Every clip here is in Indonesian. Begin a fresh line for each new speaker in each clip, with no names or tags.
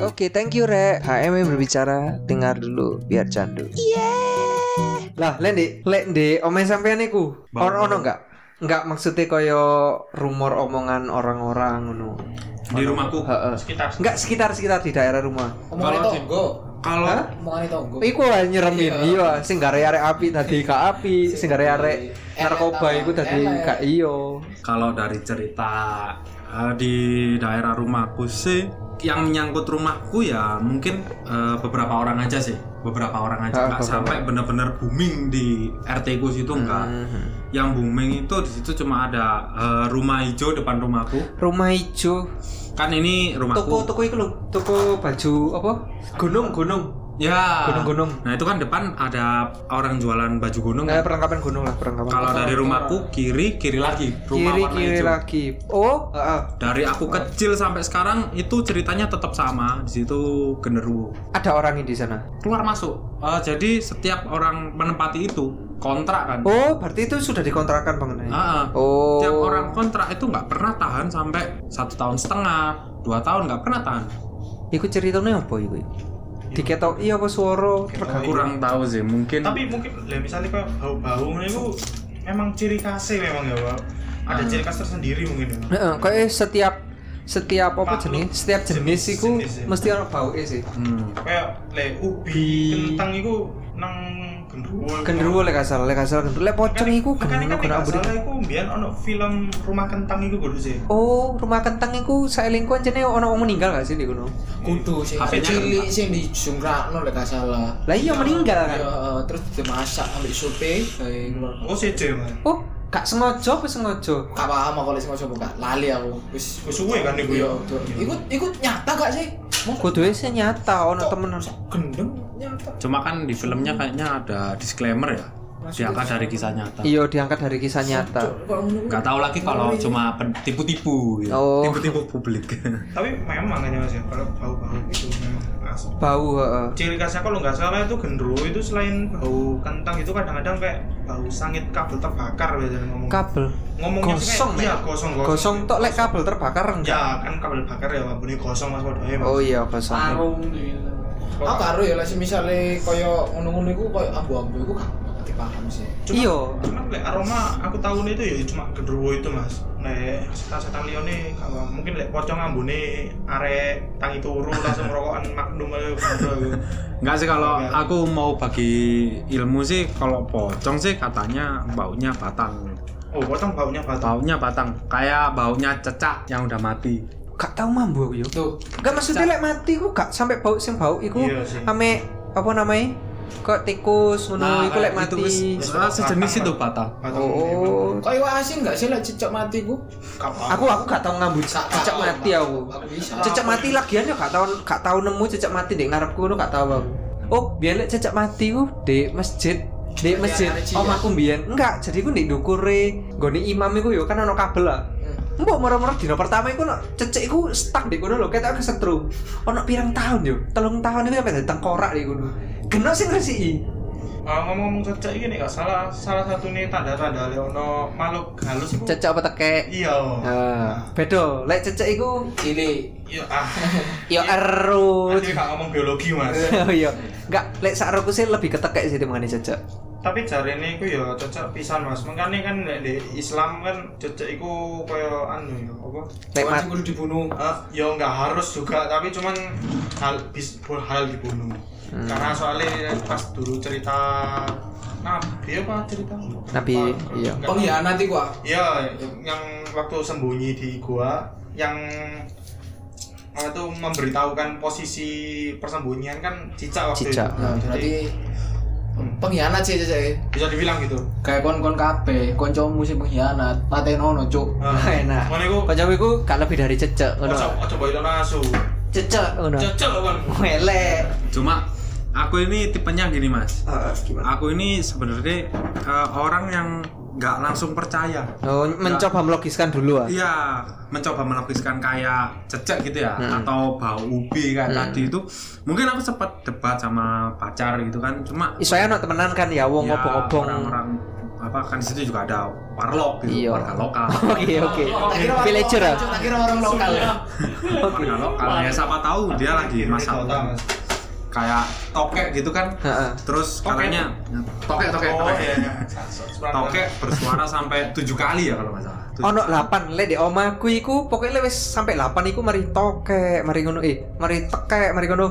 Oke, thank you Re. HM yang berbicara, dengar dulu biar candu. Lah, Lendi, Lendi, omeh sampean iku.
Bang.
Ono ono enggak? Enggak maksudnya koyo rumor omongan orang-orang ngono.
di rumahku
Heeh.
sekitar
Enggak sekitar-sekitar di daerah rumah.
Omongannya
Kalau-
tonggo
Hah?
kalau
Omongannya tonggo
Oh, Iku wae nyeremin
Iya.
iya, sing gak arek api dadi gak api, sing gak arek
Elek
narkoba
tambah
iku dadi
elek.
gak iyo.
kalau dari cerita eh, di daerah rumahku sih yang menyangkut rumahku ya mungkin eh, beberapa orang aja sih beberapa
Ah,
orang aja nggak
beberapa. Hmm.
sampai bener-bener booming di RT ku situ enggak
Mhm.
yang booming itu di situ cuma ada eh, rumah hijau depan rumahku
Rumah ijo,
kan ini rumahku
toko-toko iku lho, toko baju apa? Gunung-gunung. Ah.
ya
Gunung-gunung.
nah itu kan depan ada orang jualan baju gunung
Eh, perlengkapan gunung lah, perlengkapan.
kalau dari rumahku kiri kiri lagi rumah
kiri
warna
kiri
hijau.
lagi. Oh, heeh.
dari aku kecil sampai sekarang itu ceritanya tetap sama di situ genderuwo
ada orangnya di sana.
keluar masuk Eh, jadi setiap orang menempati itu kontrak kan
Oh, berarti itu sudah dikontrakan mengenai.
Ah, ah.
Oh.
setiap orang kontrak itu nggak pernah tahan sampai satu tahun setengah dua tahun nggak pernah tahan
Iku ceritanya apa iku? Diketok iya apa suara?
kurang tahu sih mungkin
tapi mungkin lah misalnya kayak bau-bau ngono itu memang ciri khasnya memang ya Pak. ada ciri khas tersendiri mungkin ya.
Heeh, kayaknya setiap setiap apa
Makhluk.
jenis? Setiap jenis
Jenis-
iku
jenis, ya.
mesti ana bauke sih.
Hmm.
kayak le ubi kentang itu nang genderuwo
Genderuwo lek asal, lek asal genderuwo. Lek pocong iku
kan
genderuwo kena
nggak
abri.
salah iku biyen ono film rumah kentang iku kudu sih
Oh, rumah kentang iku saelingku jenenge ana wong meninggal gak sih di kono?
Kudu sing
HP-nya
cilik sing dijungkrakno lek gak salah
Lah iya meninggal kan.
Ya, terus dimasak ambil supe kayak ngono.
oh siji mas
Oh, gak sengaja apa sengaja?
Gak paham aku lek sing ngono buka lali aku. Wis
Wis suwe kan iku ya?
Iya, betul. Iku iku nyata gak sih? Wong
Kuduwe sih nyata ana temenan.
gendeng nyata.
cuma kan di filmnya kayaknya ada disclaimer ya diangkat dari kisah nyata
Iya diangkat dari kisah nyata.
Kok ngono
nggak tahu lagi kalau cuma pen- tipu-tipu gitu.
Oh.
tipu-tipu publik
tapi memang kan ya mas ya kalau bau-bau itu memang asli
Bau heeh.
ciri khasnya kalau nggak salah itu genderuwo itu selain bau kentang itu kadang-kadang kayak bau sangit kabel terbakar biasanya ngomong
Kabel
ngomongnya tuh
gosong ya.
kayak, ya gosong gosong,
Gosong tok lek kabel terbakar enggak?
ya kan kabel bakar ya bunyi gosong mas waduh mas
Oh iya kosong.
sarung gitu. Aku karo ya lek misale kaya ngono-ngono iku kaya ambu-ambu iku gak ngerti paham sih.
Cuma-
Iya.
cuman lek aroma aku tahun itu ya cuma genderuwo itu mas lek setan-setan lione kalau mungkin lek pocong ambune arek tangi turu langsung rokokan magnum aja genderuwo.
Enggak sih kalau
Enggak.
aku mau bagi ilmu sih kalau pocong sih katanya baunya batang.
oh pocong baunya batu
Baunya batang kayak baunya cecak yang udah mati.
Gak tau mambu aku yo.
Tuh,
Gak maksudnya lek mati ku gak sampai bau sing bau iku
Iya sih.
ame apa namanya? Kok tikus ngono iku lek
kayak gitu,
mati.
wis- wis- ah, sejenis itu batang.
batang
Oh.
kaya asin gak sih lek cecok mati iku?
Aku aku gak tau ngambu cecek mati aku.
Aku bisa.
Cecek mati lagian Ah, ya gak tau gak tau nemu cecek mati di ngarepku ngono gak tau aku. Oh, biyen lek cecek mati ku di masjid di
Di
masjid
arek
om
cilik.
aku mbiyen enggak jadi ku ndek dukure nggone imam iku yo kan ana kabel lah Mbok moro-moro dino pertama iku no, cecek iku stuck di kono lho, ketok kesetrum. Ono pirang tahun yo, telung tahun iku sampe dadi tengkorak di kono. Geno sing ngresiki.
Ah, ngomong-ngomong cecek ini nggak salah salah satu nih tanda-tanda leono makhluk halus itu
Cecek apa tekek?
iya
Ah, bedo. Lek cecek iku
Cilik.
iya ah
yo erut.
nanti nggak ngomong biologi mas
Oh iya. Enggak, lek sakroku sih lebih ketekek sih dimangane cecek.
tapi jari ini aku ya cocok pisan mas makanya kan lek di Islam kan cocok itu koyo anu ya apa
Lek
Orang
mat-
sing kudu dibunuh.
Eh, ya nggak harus juga tapi cuman hal bis bol- hal dibunuh
Hmm.
karena soalnya pas dulu cerita nabi apa cerita
Nabi, iya.
Nggak-
Pengkhianat iku ah.
iya yang waktu sembunyi di gua yang apa itu memberitahukan posisi persembunyian kan cicak waktu
Cicak,
itu
Nah,
jadi
berarti pengkhianat sih cecek.
bisa dibilang gitu
Kayak kon-kon kabeh, kancamu sing pengkhianat, patenono cuk.
Nah,
Enak.
makanya aku
Kancaku iku gak lebih dari cecek ngono. Nah.
Ojo ojo boyo nasu.
Cecek ngono.
Cocok kan.
Melek.
Cuma aku ini tipenya gini mas.
Ah, gimana?
Aku ini sebenarnya eh, orang yang nggak langsung percaya.
Oh, mencoba melogiskan dulu ah.
Iya, mencoba melukiskan kayak cecek gitu ya,
Hmm.
atau bau ubi kayak tadi itu. Mungkin aku sempat debat sama pacar gitu kan, cuma
Isoya no temenan kan ya wong
Ya,
ngobong-ngobong.
orang-orang eh, apa kan di situ juga ada warlock gitu,
Iya.
warga lokal.
Oke oke.
Tak kira orang
Villager ya.
lokal, tak kira orang lokal ya.
Oke.
warga lokal ya siapa tahu dia lagi masalah
mas
kayak tokek gitu kan.
Heeh.
Terus
Tokek.
katanya tokek tokek
oh
tokek.
iya iya.
Tokek bersuara sampai tujuh kali ya kalau nggak salah. Tujuh.
Ono 8 lek di omahku iku pokoke lek wis sampe 8 iku mari tokek, mari ngono eh, mari tekek, mari ngono.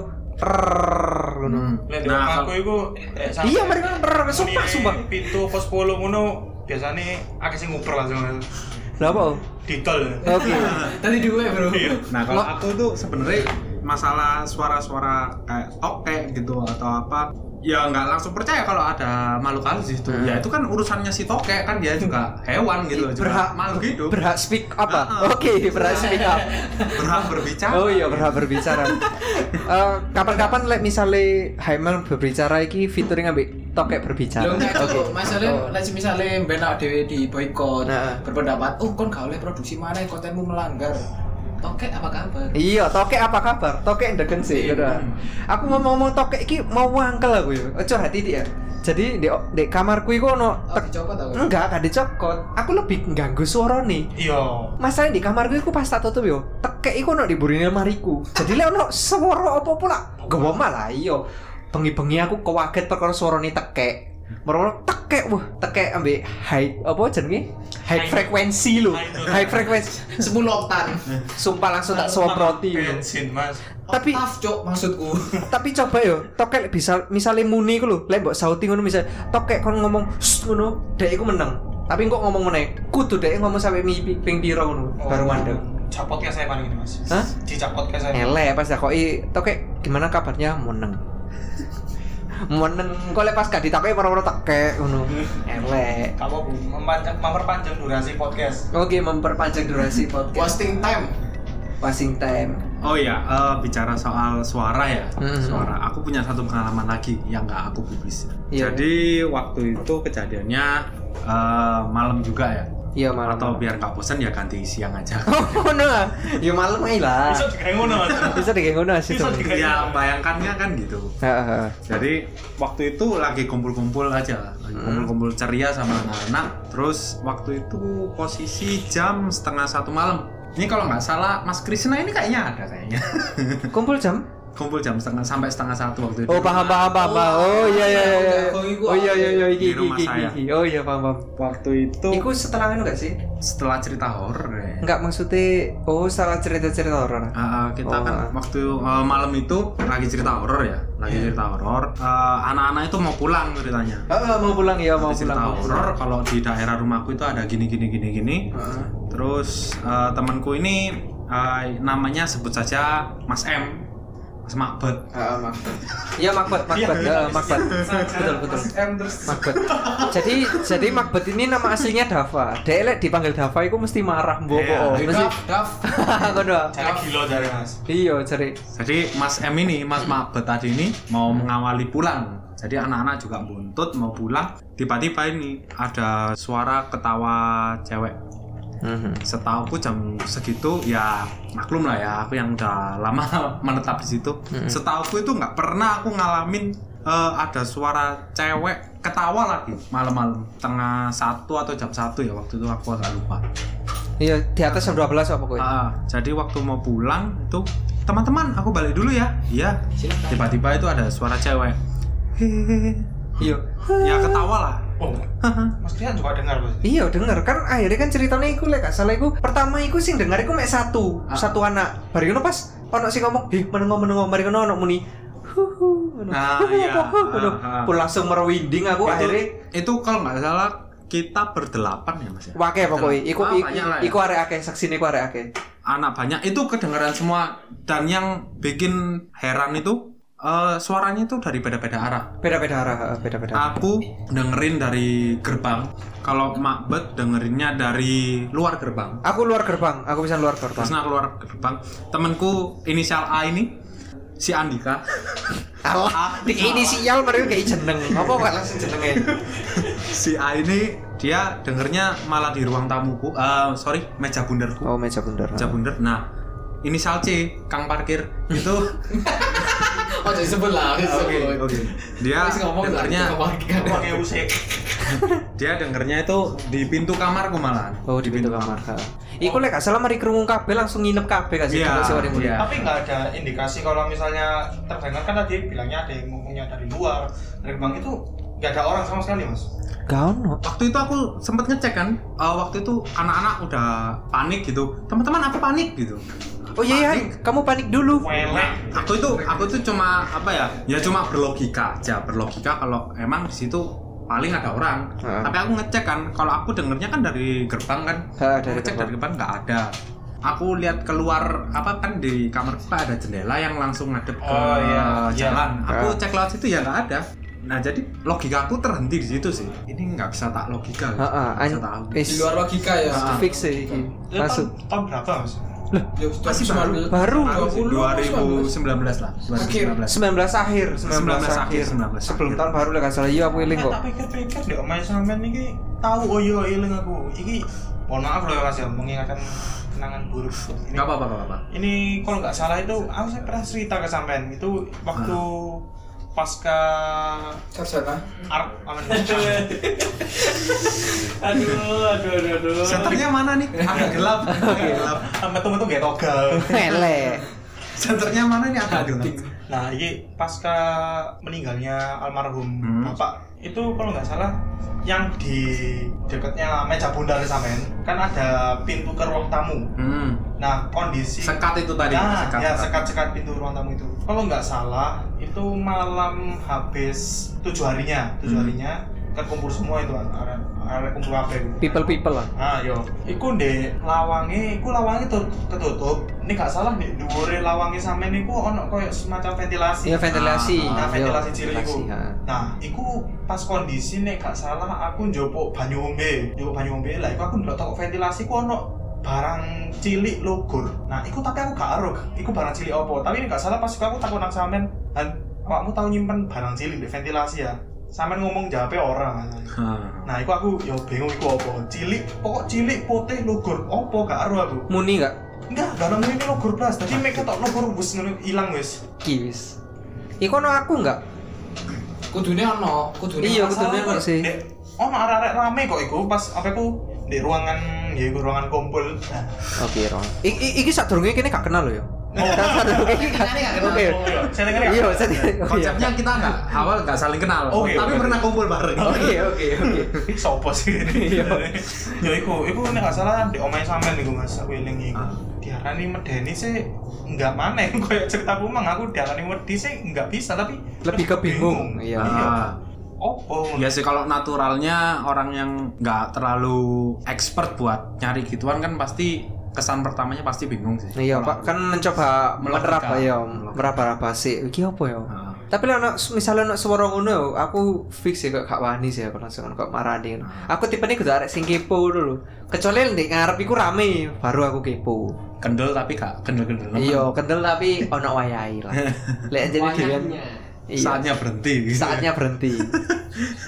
Prrrr, ngono.
Hmm.
Lihat
Nah,
nah, aku
kalau-
itu eh, sampai-
Iya, mari kan, ber- sumpah,
Ini
sumpah.
Pitu pos polo ngono biasanya akeh sing nguper lah sama
Lah apa? oh?
detail. ya.
Oke.
Tadi dua ya, Bro.
Iya.
Nah kalau
Lo-
aku tuh sebenarnya masalah suara-suara kayak tokek gitu atau apa ya nggak langsung percaya kalau ada makhluk halus di situ.
Hmm.
Ya itu kan urusannya si tokek kan dia juga hewan gitu, juga
Berhak-
makhluk hidup,
Berhak speak apa?
Ah, ah.
Oke, berhak speak up.
berhak berbicara.
Oh iya, berhak berbicara. Eh, kapan-kapan lek misale Haiman berbicara iki featuring ambek tokek
Yo
berbicara.
enggak
Oke.
cuk, masalah lek misale ben awak dhewe di boikot,
Nah.
berpendapat, "Oh, kon gak oleh produksi mana kontenmu melanggar." Tokek apa kabar?
Iya, tokek apa kabar? Tokek ndegen sih. gitu. Aku ngomong-ngomong tokek iki mau wangkel aku yo. Ojo hati ya. Jadi di, di kamarku iku ono
Oh,
tek-
dicopot aku.
enggak gak dicokot. Aku lebih ngganggu suara nih.
Iya.
Masalahnya di kamarku iku pas tak tutup yo. Tekek iku ono di burine lemariku. Jadi lek ono swara apa pula? Gawa malah iya. Bengi-bengi aku kewaget perkara suarane tekek. Meroro tekek wah, tekek ambek high apa jenenge? High
High-
frequency lho.
high-
High frequency.
10 oktan.
Sumpah langsung tak soproti. yo.
Bensin mas.
Tapi-
Oktaf, cuk maksudku.
tapi coba yo tokek bisa misalnya muni ku lho lek mbok sauti ngono misal tokek kon ngomong "Shh," ngono dek iku menang tapi kok ngomong meneh kudu dek ngomong sampai mipi ping pira ngono baru mandek
Capot kayak saya paling ini mas.
Hah?
Dicapot kayak saya.
elek pas takoki tokek gimana kabarnya menang menang kok lek pas gak ditakoki moro-moro tokek ngono elek
Kamu bu, mempanjang, memperpanjang durasi podcast.
oke memperpanjang durasi podcast
Wasting time.
passing time
Oh iya, eh, bicara soal suara ya,
Mhm.
suara. Aku punya satu pengalaman lagi yang nggak aku publis.
Iya.
Jadi waktu itu kejadiannya eh, malam juga ya.
iya malam
Atau biar nggak bosan ya ganti siang aja.
oh no ya malam ae lah
Bisa juga ngono mas.
bisa dikek ngono sih
Bisa
tuh.
dikek.
ya bayangkannya kan gitu.
Heeh, heeh.
Jadi waktu itu lagi kumpul-kumpul aja, lagi
Mm-hmm.
kumpul-kumpul ceria sama anak-anak. Terus waktu itu posisi jam setengah satu malam. Ini kalau nggak salah Mas Krisna ini kayaknya ada kayaknya.
kumpul jam
kumpul jam setengah sampai setengah satu waktu itu.
Oh paham paham paham paham. Oh iya iya iya. iya. Oh iya iya iya iki
Di rumah
iki iki.
saya.
iki. Oh iya paham paham.
Waktu itu
Iku setelah anu gak sih?
setelah cerita horor. ya.
Enggak maksudnya oh salah cerita-cerita horor.
Ah, ah, kita
Oh,
kan
ah.
waktu eh, malam itu lagi cerita horor ya, lagi
Iya.
cerita horor. Eh, anak-anak itu mau pulang ceritanya.
Heeh, mau pulang ya mau
Lagi cerita
pulang.
horor kalau di daerah rumahku itu ada gini gini gini gini.
Heeh.
Terus eh, temanku ini eh, namanya sebut saja Mas M, Mas Makbet.
Heeh, Makbet. Iya Makbet, Makbet, heeh Makbet. Betul betul. Makbet. Jadi jadi Makbet ini nama aslinya Dava. Dek lek dipanggil Dava iku mesti marah mbok.
Iya,
Oh, Mesti
Daf, daf.
ngono.
Cara gila jare mas.
Iya, cari.
Jadi Mas M ini, Mas Mabet tadi ini mau mengawali pulang. Jadi anak-anak juga buntut mau pulang. Tiba-tiba ini ada suara ketawa cewek. Setauku jam segitu ya maklum lah ya aku yang udah lama menetap di situ. Setauku itu nggak pernah aku ngalamin eh, ada suara cewek ketawa lagi malam-malam tengah satu atau jam satu ya waktu itu aku agak lupa.
Iya, di atas jam 12 apa kowe?
Ah, jadi waktu mau pulang itu teman-teman aku balik dulu ya. Iya.
Silakan.
Tiba-tiba itu ada suara cewek.
Iya.
Ya ketawa lah.
Oh, mas Krian juga dengar mas.
Iya denger kan akhirnya kan ceritanya iku lek gak salah iku pertama iku sing denger iku mek satu,
Ah.
satu anak. Bari ngono pas ono sing ngomong, "Ih, menengo menengo mari ngono ono muni." Huhu, ngono.
Ah,
Huhu,
iya.
apa, huhu, ngono.
Ah, ah.
Pun langsung merwinding aku
Itu-
akhirnya
itu kalau nggak salah kita berdelapan ya Mas ya.
wake pokoknya iku
Ah,
iku,
banyak lah ya.
iku arek akeh saksine iku arek akeh.
Anak banyak itu kedengaran semua dan yang bikin heran itu eh, suaranya itu dari beda-beda arah.
Beda-beda arah, ah, beda-beda.
Aku dengerin dari gerbang. Kalau Makbet dengerinnya dari luar gerbang.
Aku luar gerbang, aku bisa luar gerbang.
Terusnya keluar gerbang temanku inisial A ini si Andika
Allah, Ah, di inisial mereka kayak jeneng. Apa kok langsung jenenge?
si A ini dia dengernya malah di ruang tamuku eh sorry meja bunderku
Oh, meja bundar.
meja bunder nah inisial C Kang Parkir itu
Oh, jadi sebut lah,
oke
sebut.
oke dia
Wis ngomong
dengernya
lah, itu ngomong lagi kan.
Pakai usik.
dia dengernya itu di pintu kamarku malah
Oh di pintu kamar. ha. Iku lek gak salah mari krungu kabeh langsung nginep kabeh gak sih Kalau
Iya,
sewari muni.
iya.
Tapi nggak ada indikasi kalau misalnya terdengar kan tadi bilangnya ada yang ngomongnya dari luar dari bank itu nggak ada orang sama sekali mas.
Gak ono.
waktu itu aku sempat ngecek kan eh, waktu itu anak-anak udah panik gitu teman-teman aku panik gitu
Oh iya iya, kamu panik dulu.
Welek.
aku itu aku tuh cuma apa ya ya cuma berlogika aja berlogika kalau emang di situ paling ada orang
Heeh.
tapi aku ngecek kan kalau aku dengernya kan dari gerbang kan
Ha,
dari
dari
ngecek dari
depan.
depan nggak ada aku lihat keluar apa kan di kamar kan ada jendela yang langsung ngadep ke
Oh, iya.
jalan
Iya.
aku
Ah.
cek lewat situ ya nggak ada nah jadi logika aku terhenti di situ sih ini nggak bisa tak logika
Ha, ha, an-
nggak bisa
eh,
tak ambil.
is-
di luar logika ya
Ah.
fix sih iki.
Itu
Iya.
tahun-
Masuk.
tahun berapa mas?
Ya,
masih baru
2019.
Baru.
Baru sih, 2019
2019.
lah 2019
19 akhir,
19 akhir, 19
Sebelum
akhir.
tahun baru lek gak salah iya aku eling
Eh,
kok.
tak pikir-pikir deh, omai sampean iki tahu oh iya eling aku. Iki mohon maaf loh ya mas ya mengingatkan kenangan buruk ini.
nggak apa-apa nggak apa-apa
Ini kalau nggak salah itu aku saya pernah cerita ke sampean itu waktu pasca
sarjana
art aman. aduh, aduh, aduh, aduh.
Senternya mana nih? Agak gelap, agak gelap.
Sama tuh gak togal.
Melek.
Senternya mana nih? Agak gelap.
Nah, ini pasca meninggalnya almarhum
Hmm.
bapak itu kalau nggak salah yang di dekatnya meja bundar sampean kan ada pintu ke ruang tamu.
Hmm,
Nah, kondisi
sekat itu tadi.
Nah,
Ah, sekat,
ya sekat-sekat pintu ruang tamu itu. Kalau nggak salah itu malam habis tujuh harinya, tujuh
Hmm.
harinya terkumpul semua itu arek arek kumpul apa itu.
People people lah.
Nah, yo. Iku ndek lawange, iku lawange tur- ketutup. Ini gak salah ndek dhuwure lawange sampean niku ono koyo semacam ventilasi.
Iya ventilasi.
Ah,
nah,
Iya,
ventilasi cilik iku.
ventilasi, ah. ha.
Nah, iku pas kondisi nek gak salah aku njupuk banyu ombe. Njupuk banyu ombe lah iku aku ndelok toko ventilasi ku ono barang cilik logor. Nah, iku tapi aku gak ero. Iku barang cilik opo? Tapi nek gak salah pas iku aku takon nang sampean, "Han, awakmu tau nyimpen barang cilik di ventilasi ya?" Sampean ngomong jawabe ora. Mas.
Oh,
Hmm.
Nah, iku aku ya bingung iku apa. Cilik, pokok cilik putih logor apa gak ero aku.
Muni gak?
Enggak, dalam ini logor blas. Tadi mek ketok logor wis ngono ilang wis.
Kiwis. Iku ono aku gak?
kudune ono kudune
Iya,
masalah
kudune
Eh.
ono
kok.
sih.
Dek, ono Eh, oh, arek-arek rame kok iku pas apa iku di ruangan ya iku ruangan kumpul. Nah,
Oke, Ron. Iki sadurunge kene gak kenal lho ya.
Oh.
Gak sadurunge iki gak
Kene gak kenal.
Oke.
oh, iya. Saya dengar
Iya,
ya.
saya oh, iya. Oh,
Konsepnya kita nggak awal nggak saling kenal,
Oke,
tapi
oke.
pernah kumpul bareng.
Oke, oke, oke.
Ih, Sopo sih ini? Ya iku, iku nek gak salah di omahe sampean iku Mas, aku eling iku.
Ah.
Diarani medeni sih enggak maneh koyo ceritaku mang aku diarani wedi sih enggak bisa tapi
Lebih ke bingung, iya.
Ah,
Opo?
Ya sih kalau naturalnya orang yang nggak terlalu expert buat nyari gituan kan pasti kesan pertamanya pasti bingung sih.
Iya,
Kalau
Pak,
aku.
kan mencoba
Melogika.
menerap ya,
Melogika.
meraba-raba sih. Iki apa ya?
Ah.
Tapi lah ono misalnya ono swara ngono ya, aku fix sih kok gak wani sih aku langsung kok marani. Aku tipenya kudu arek sing kepo dulu. Kecuali ndek ngarep iku rame, baru aku kepo.
kendel tapi gak kendel-kendel. amat.
Iya, kendel tapi ono wayahe lah. Lek jadi dhewean. Iya.
Saatnya berhenti. gitu.
Saatnya berhenti.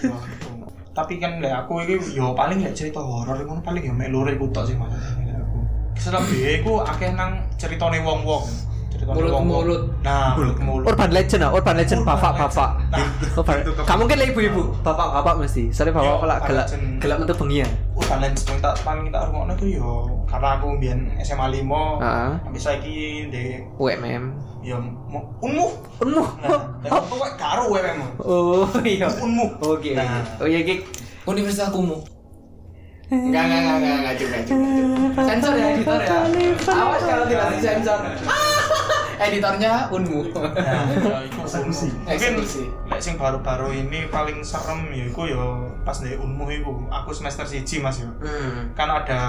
Waduh. tapi kan lek aku iki yo paling lek cerita horor ngono paling yo mek lure iku tok sih Mas. Lek aku. Selabe iku akeh nang ceritane wong-wong. Ceritane
Mulut ke
wong-wong.
mulut.
Nah, mulut ke mulut.
Urban legend ah, urban legend
Urban
bapak-bapak.
legend. Nah,
Urban.
itu ke-
Gak mungkin lah ibu-ibu, bapak-bapak mesti. Soalnya bapak-bapak
Iya,
lah gelak
urban legend.
gelak metu bengi ya.
Udah lain sing tak paling tak rungokno tuh yo karena aku mbiyen SMA 5.
Heeh.
Habis saiki ndek
UMM.
yo mu- unmu.
Unmu.
Nah, lek aku kok karo wae memang.
Oh iya.
Ya, Unmu.
Oke. oke.
Nah.
Oh iya, Gik.
Universitas Kumu.
Eh.
Enggak, enggak, enggak, enggak, enggak, juga, juga, juga. Sensor ya, editor ya. Awas kalau tidak di sensor. Editornya unmu.
Nah, ya iku
Eksekusi.
unmu. Mungkin
Eksekusi.
lek sing baru-baru ini paling serem ya iku yo pas ndek unmu iku. Aku semester 1 Mas yo.
Hmm.
kan ada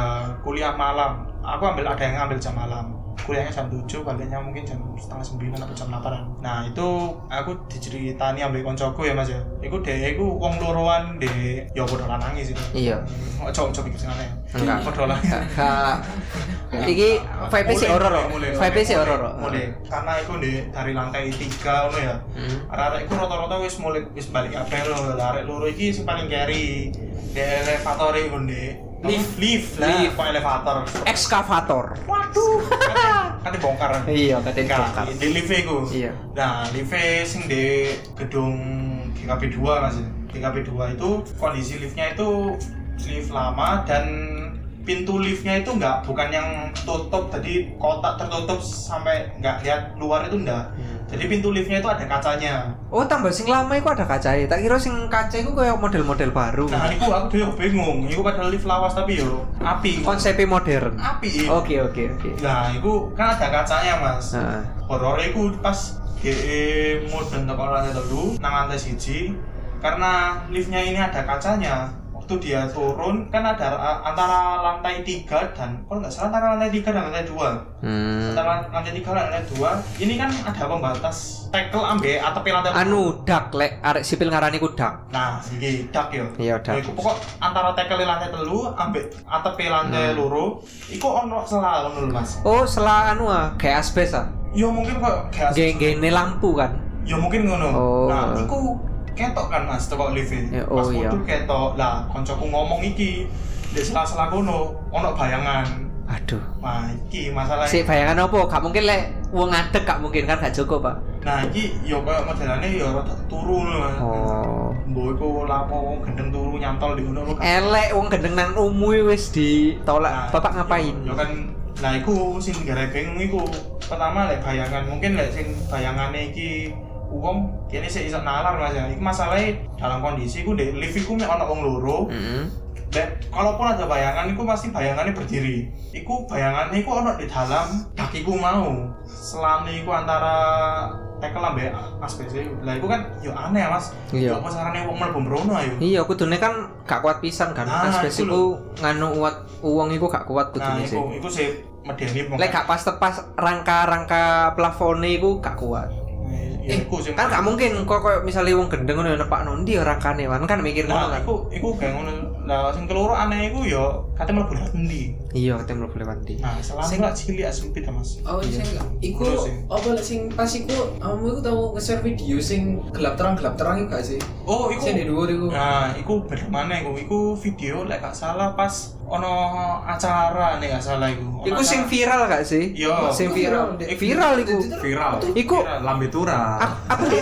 kuliah malam aku ambil ada yang ambil jam malam kuliahnya jam 7, baliknya mungkin jam setengah sembilan atau jam 8 nah itu aku diceritani ambil koncoku ya mas ya itu deh aku wong loroan deh ya bodoh nangis itu
Iya.
coba coba pikir sana ya
Enggak.
bodoh nangis
Kak. Iki vibe sih
Mulai,
horor.
mulai, mulai,
Vibe sih
mulai,
horor.
mulai. karena itu deh dari lantai tiga ono ya
Hmm.
arek-arek iku rata-rata wis mulai wis balik kabeh lho. Lah arek loro iki sing paling keri. Di elevator iku, Ndek.
Lift.
lift lah,
Lift.
kok elevator.
Ekskavator.
Waduh. Kan dibongkar.
Iya, katanya
Enggak,
dibongkar.
Di lift iku.
Iya.
Nah, lift sing di gedung GKP 2 Mas. TKP2 itu kondisi liftnya itu lift lama dan pintu liftnya itu nggak bukan yang tutup jadi kotak tertutup sampai nggak lihat luar itu enggak
iya.
jadi pintu liftnya itu ada kacanya
Oh tambah sing lama iku ada kacae. Tak kira sing kacae iku kayak model-model baru.
nah itu aku dhewe bingung itu padahal lift lawas tapi yo api
Konsepnya modern.
api
Oke oke oke.
nah itu kan ada kacanya mas
Heeh.
horornya itu pas E GE mudeng ke lantai telu nang lantai siji karena liftnya ini ada kacanya waktu dia turun kan ada a- antara lantai 3 dan kalau nggak salah antara lantai 3 dan lantai 2
Hmm.
antara lantai 3 dan lantai 2 ini kan ada pembatas tekel ambe atap lantai
Anu dak lek arek sipil ngarani ku dak.
nah ini dak yo
Iya
Nah,
dak.
iku pokok antara tekel lantai telu ambe atap
Hmm.
lantai loro iku ono celah ngono lho, Mas.
Oh selah anu ah kayak asbes ah.
Yo mungkin kok gak
Geng-gengnya lampu kan.
ya mungkin ngono
Oh.
nah iku ketok kan mas toko live
Ya, oh
pas
iya.
kudu ketok lah koncoku ngomong iki di sela-sela kono ono bayangan
Aduh.
nah iki masalah
Si bayangan apa? Gak mungkin lek wong ngadeg gak mungkin kan gak cukup pak.
nah iki yo kayak modelane yo rada turu ngono mas
Oh.
mbok iku lapo wong gendeng turu nyantol di ngono lho kan.
Elek Eh, wong gendeng nang umui wis
Nah,
ditolak. Bapak ngapain?
yo, yo kan nah iku sing gara bingung iku pertama lek bayangan mungkin lek sing bayangane iki uang kene sik iso nalar mas ya iku masalahnya dalam kondisi ku di lift iku mek ono wong loro
Hmm.
Dan kalaupun ada bayangan, itu pasti bayangannya berdiri. Iku bayangannya iku ono di dalam kakiku mau. Selama iku antara tekel lambe asbes iku. Lah iku kan yo aneh mas.
Iya.
Yo apa sarane wong mlebu mrono ayo.
Iya, kudune kan gak kuat pisan kan.
Nah,
Asbes
iku lho.
iku nganu kuat uang iku gak kuat
Nah,
kudune sih.
iku iku sih medeni wong.
Lek gak pas tepas rangka-rangka plafone iku gak kuat.
Ya iku sing
Kan gak mungkin kok koyo misale wong gendeng ngono ya nepak nondi rangkane kan kan mikir ngono
Nah,
kan.
iku iku kayak ngono. Lah sing keloro aneh iku yo kate mlebu lewat endi.
Iya, ketemu mlebu lewat ndi.
Nah, selama
Sing-
lak cilik asupit Mas.
Oh, sing iku
Terus, sing.
apa lek sing pas iku kamu iku tau nge-share video sing gelap terang gelap terang iku gak sih?
Oh, iku
Sing di dhuwur iku.
Nah, iku bener mana iku? Iku video lek gak salah pas ono acara nek gak salah iku. Ono
Iku sing
acara.
viral gak sih?
Iya.
Sing viral.
Viral.
Viral iku.
viral
Iku
lambe tura
aku aku di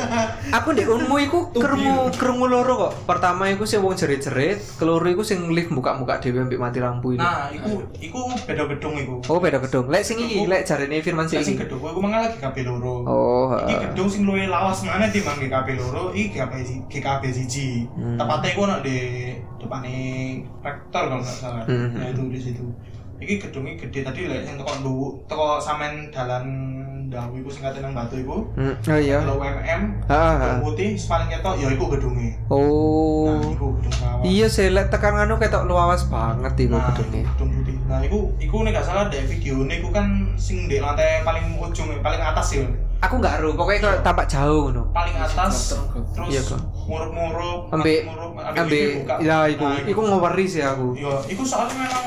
aku di unmu iku kerungu kerungu loro kok. Pertama iku sing wong jerit-jerit, keloro iku sing lift buka-buka dhewe ambek mati lampu ini.
Nah, iku iku beda gedung iku.
Oh beda gedung. Lek sing iki, lek jarene Firman sing
Lek sing
iki.
gedung iku mengalah GKP loro.
Oh.
Iki
heeh.
gedung sing luwih lawas mana timbang GKP loro, iki GKP si- GKP siji.
Hmm.
Tepatnya iku ono di depane rektor kalau nggak salah.
Hmm.
Nah, itu di situ. Iki gedungnya gede tadi lek sing teko nduwuk, teko samen dalan dawu iku sing kate nang batu iku.
Hmm, Oh iya.
Kalau UMM
Heeh. heeh.
gedung putih paling ketok ya iku gedunge.
Oh.
Nah, iku gedung lawas.
Iya sih, lek tekan anu ketok luas banget iku
Nah,
gedunge.
gedung putih. Nah, iku iku nek gak salah dek videone iku kan sing di lantai paling ujung, paling atas ya.
Aku nggak ero, pokoknya kalau tampak jauh ngono.
Paling atas
Gelap terang, gelap.
terus
Iya, Kak.
murup-murup,
Ambe
murup,
ambe ya iku,
Nah,
iku ngoweri sih aku.
Yo, iya, iku soalnya memang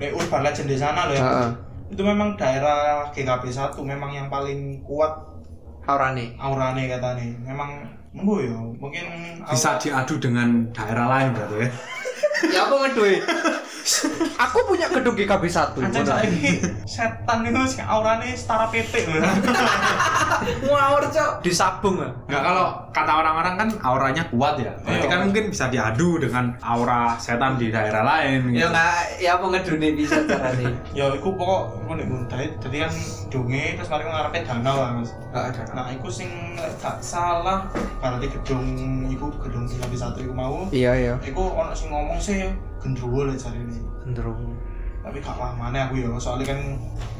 nek urban legend di sana loh ya.
Heeh.
Itu memang daerah GKP 1 memang yang paling kuat
Aurane.
aurane katanya. Memang monggo yo, mungkin
bisa diadu dengan daerah lain berarti ya
Ya aku ngeduwe. aku punya gedung GKB 1.
Ancen saiki setan itu sing aurane setara pitik lho.
Ngawur, Cok.
Disabung ah.
Nggak kalau kata orang-orang kan auranya kuat ya. Berarti kan mungkin bisa diadu dengan aura setan di daerah lain.
Ya
Gitu.
nggak, ya apa ngedune bisa carane.
ya iku pokok iku nek muntai jadi kan dunge terus mari ngarepe danau lah Mas.
Heeh, ada.
Nah, iku sing lek gak salah berarti gedung iku gedung sing lapis satu iku mau.
Iya iya.
Iku ono sing ngomong sih gendruwo lek jare ini.
Gendrung.
Tapi gak paham mana aku ya soalnya kan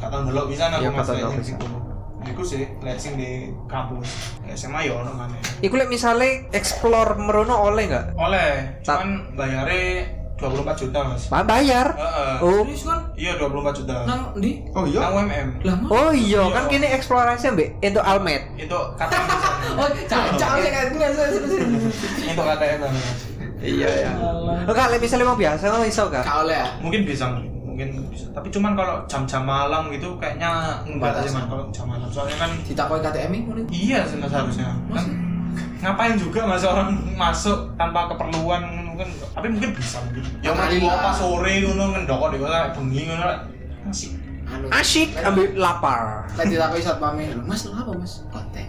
gak tau ndelok pisan aku
Iya, gak
Mas
tau
lek
ndelok
sing
pisan.
kono. Nah, Iku sih lek sing di kampus Lek SMA ya ono maneh.
Iku lek misale explore merono oleh nggak?
Oleh,
Tap.
cuman bayare 24 juta, Mas.
Ba- Bayar.
Heeh.
Oh.
Terus kan
Iya, 24 juta. Nang
nang ndi?
Oh iya.
UMM.
Lah, Mas.
Oh iya,
Iya.
kan kini eksplorasi mbek itu Almet.
Itu KTM.
Oh, cacak sing ngene
Itu KTM lah, Mas.
Iya ya. Enggak, lek misalnya mau biasa mau iso gak?
Gak oleh. ya?
mungkin bisa mungkin bisa tapi cuman kalau jam-jam malam gitu kayaknya enggak sih mas kalau jam malam soalnya kan
Ditakoni KTM iku ngene.
iya sih mas harusnya
Mas.
kan ngapain juga mas orang masuk tanpa keperluan mungkin tapi mungkin bisa mungkin ya mau
Kali lah.
apa sore ngono ngendokok di kota bengi ngono lah. asik
Anu.
Asyik ambil lapar.
Lek ditakoni satpame, "Lho, Mas, lho apa, Mas? Konten.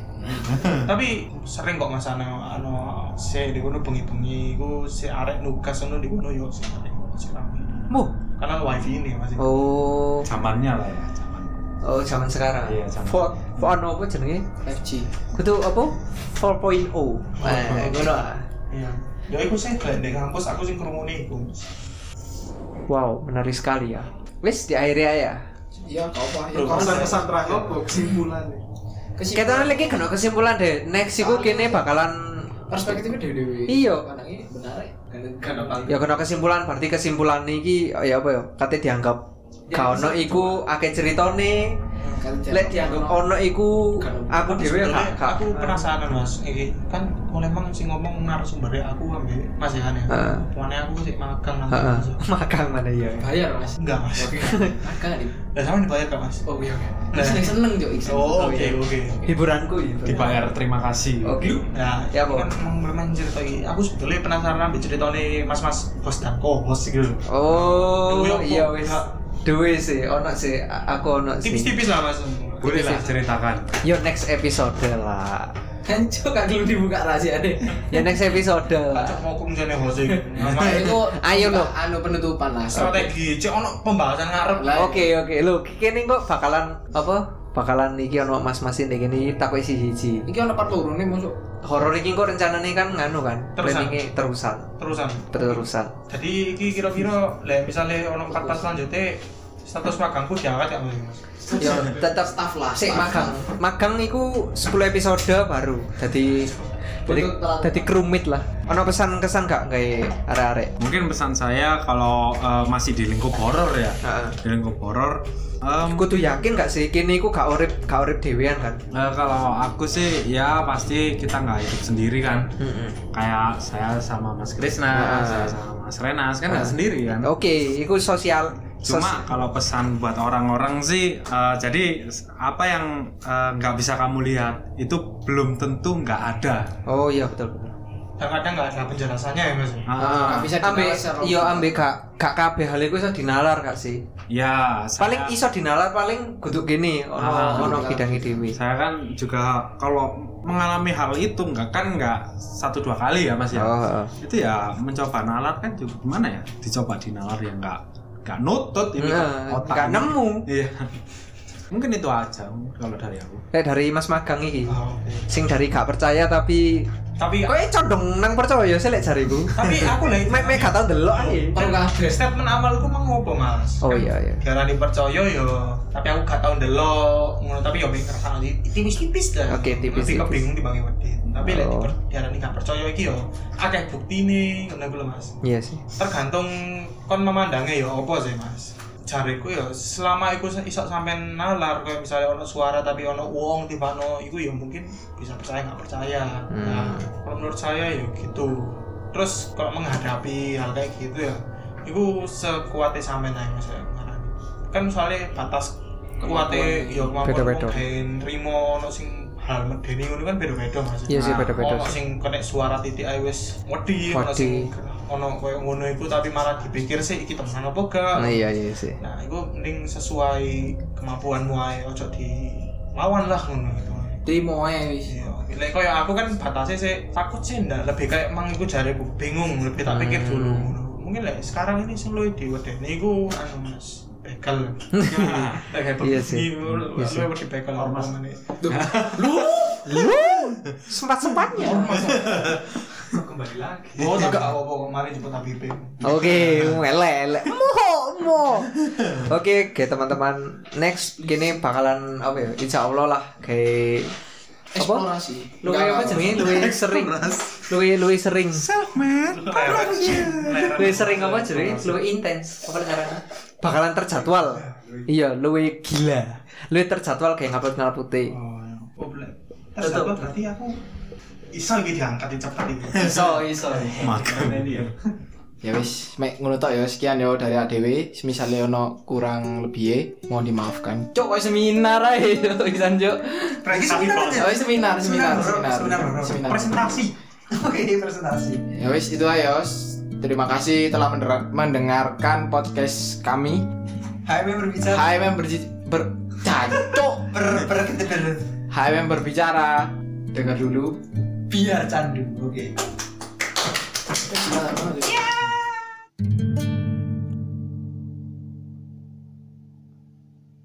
tapi sering kok mas ano ano saya di kono bengi-bengi ku si arek nugas ono di kono yo sing sering sing rame.
Mu.
karena wifi ini masih
Oh,
Zamannya lah ya, zaman.
oh zaman sekarang.
Iya, zaman.
For, for ano apa jenenge?
5G
Kudu apa? 4.0. Eh, ngono ah.
iya ya iku sih gak di kampus aku sing kerumuni iku
Wow, menarik sekali ya. Wis di area ya.
iya gak apa ya
Loh,
kok
pesan-pesan
terakhir apa kesimpulan
Kita
kesimpulan
lagi kena kesimpulan deh. Next iku kene bakalan
perspektifnya dewe dewe
Iya.
kadang ini benar ya kan apa
ya kena kesimpulan berarti kesimpulan iki ya apa ya? Kate dianggap gak ono iku akeh ceritane. Lek dianggap ono iku aku dhewe gak
Sebenarnya
gak.
aku penasaran mas iki kan mulai emang sing ngomong narasumbernya aku ambil mas Ihan ya
Heeh.
mana aku sih magang nanti
Heeh.
Mas.
Makan mana ya?
bayar mas
enggak mas
oke Makan nggak, Dim?
lah sama dibayar gak mas
oh iya oke
Nah.
seneng seneng jo
oh oke oke
Hiburanku ya.
Dibayar terima kasih.
Oke.
Nah,
Ya,
ya, kan emang memang cerita ini. Aku sebetulnya penasaran ambil cerita ini mas-mas host dan co-host gitu. loh.
Oh,
Duwe apa?
iya wis. Duwe sih, ono sih, A- aku ono sih.
Tipis-tipis lah mas.
Boleh lah ceritakan.
Yo next episode lah.
hancur kan dulu dibuka rahasia deh
Ya next episode
Kacau
lah.
mau kum jadi host ini.
Nah, itu
Ayo,
suka
lo.
anu penutupan lah
Strategi, cek ono pembahasan ngarep lah.
Lah,
Oke oke, lo kene kok bakalan apa? Bakalan iki ono mas-masin iki ini takoi siji-siji.
ini ono part loro nih masuk
Horor iki kok rencanane kan nganu kan?
Terusan.
Planningnya terusan,
Terusan.
terusan.
Jadi iki kira-kira lah misalnya ono empat pas selanjutnya status magangku diangkat ya mas.
Yo tetap
staff lah
sik
staff.
magang. Magang iku 10 episode baru. Jadi jadi,
Untuk terang.
jadi kerumit lah. Ono pesan kesan gak kayak arek-arek?
Mungkin pesan saya kalau eh, masih di lingkup horor ya,
Heeh.
di lingkup horor. em,
Kudu yakin gak sih kini iku gak urip gak urip dhewean kan?
eh, kalau aku sih ya pasti kita nggak hidup sendiri kan.
Heeh.
Kayak saya sama Mas Krisna,
Ah.
saya sama Mas Renas kan nggak
Ah.
sendiri kan.
Oke, iku sosial
Cuma kalau pesan buat orang-orang sih, eh, jadi s- apa yang eh, nggak bisa kamu lihat itu belum tentu nggak ada.
Oh iya betul betul.
Dan kadang nggak ada penjelasannya ya mas.
Ah,
Nggak bisa
Ambe
dinalar secara
iya
logika.
ambe gak gak kabeh hal iku iso dinalar gak sih?
ya, saya,
Paling iso dinalar paling kudu gini ono
Ah,
ono
betul.
bidangi dhewe.
saya kan juga kalau mengalami hal itu nggak kan nggak satu dua kali ya mas ya.
Oh, heeh.
Itu ya mencoba nalar kan juga gimana ya? Dicoba dinalar ya nggak nggak nutut ini
Nah,
kan otak.
nggak nemu.
Iya. Mungkin itu aja kalau dari aku.
Kayak dari Mas Magang iki.
Ah, oke.
Sing dari gak percaya tapi
Tapi
kowe condong nang percaya sih lek jariku.
tapi aku lah itu.
Mek mek gak tau delok ae.
perlu kabeh
Statement awalku mang ngopo mas?
Oh iya iya.
Gara dipercaya yo, tapi aku gak tau ndelok, ngono tapi yo mikir sana di tipis-tipis dah.
Oke, tipis-tipis.
Lebih kebingung dibanding wedi. Tapi lek
Oh.
diper gara gak percaya iki yo, akeh buktine ngono kuwi lho, Mas.
Iya sih.
Tergantung kon memandangnya yo opo sih, Mas. Jariku yo selama iku se- iso sampean nalar kayak misalnya ono suara tapi ono uang tibano iku yo mungkin bisa percaya nggak percaya.
Hmm.
Nah, kalau menurut saya yo gitu. Terus kalau menghadapi hal kayak gitu ya, iku sekuatnya sampean aja Mas. ya, ngarani. kan soalnya batas kuatnya yo kemampuan
Beda-beda.
wong ben rimo ono sing hal medeni ngono kan beda-beda Mas.
Iya sih
Nah,
beda-beda
ono
sih.
sing kena suara titik ae wis wedi
Wedi.
ono sing ono koyo ngono iku tapi malah dipikir sih iki temenan apa gak
Nah iya iya sih.
nah iku mending sesuai kemampuaanmu ae ojo di lawan lah ngono gitu
demo ae wis
Iya, lek koyo aku kan batasnya sih takut sih ndak lebih kayak mang iku jareku bingung lebih tak
Hmm.
pikir dulu ngono. Mungkin lek sekarang ini sing luwih diwedeni iku anu Mas bekel. Lek
Iya sih.
Luwih wedi bekel ormas meneh.
Sempat-sempatnya.
Kembali lagi. Oh,
Iya.
tak apa-apa mari jemput Habibie.
Oke, melek, mo, mo. Oke, oke teman-teman, next gini bakalan apa ya? Insya Allah lah, kayak apa?
eksplorasi
Luwe apa jenenge? Luwe sering, luwe luwe sering, luwe sering apa jenenge? Luwe intens, apa caranya? Bakalan terjadwal. Iya, luwe gila, luwe terjadwal kayak ngaput ngaputi.
Oh, ya. oh boleh. Terus apa berarti aku iso gitu diangkat di cepat itu.
Iso, iso.
Makan.
ya wis mek ngono tok ya sekian ya dari adewe misalnya ono kurang lebih mohon dimaafkan cok koyo seminar ae pisan cok
Berarti seminar aja.
Oh, seminar, seminar,
Seminar,
seminar,
seminar,
seminar.
Presentasi. Oke, presentasi.
Ya wis itu ayo. Terima kasih telah mener- mendengarkan podcast kami.
Hai member bicara
Hai member berbicara.
ber ber
Hai member berbicara.
dengar dulu
biar candu oke
Gimana?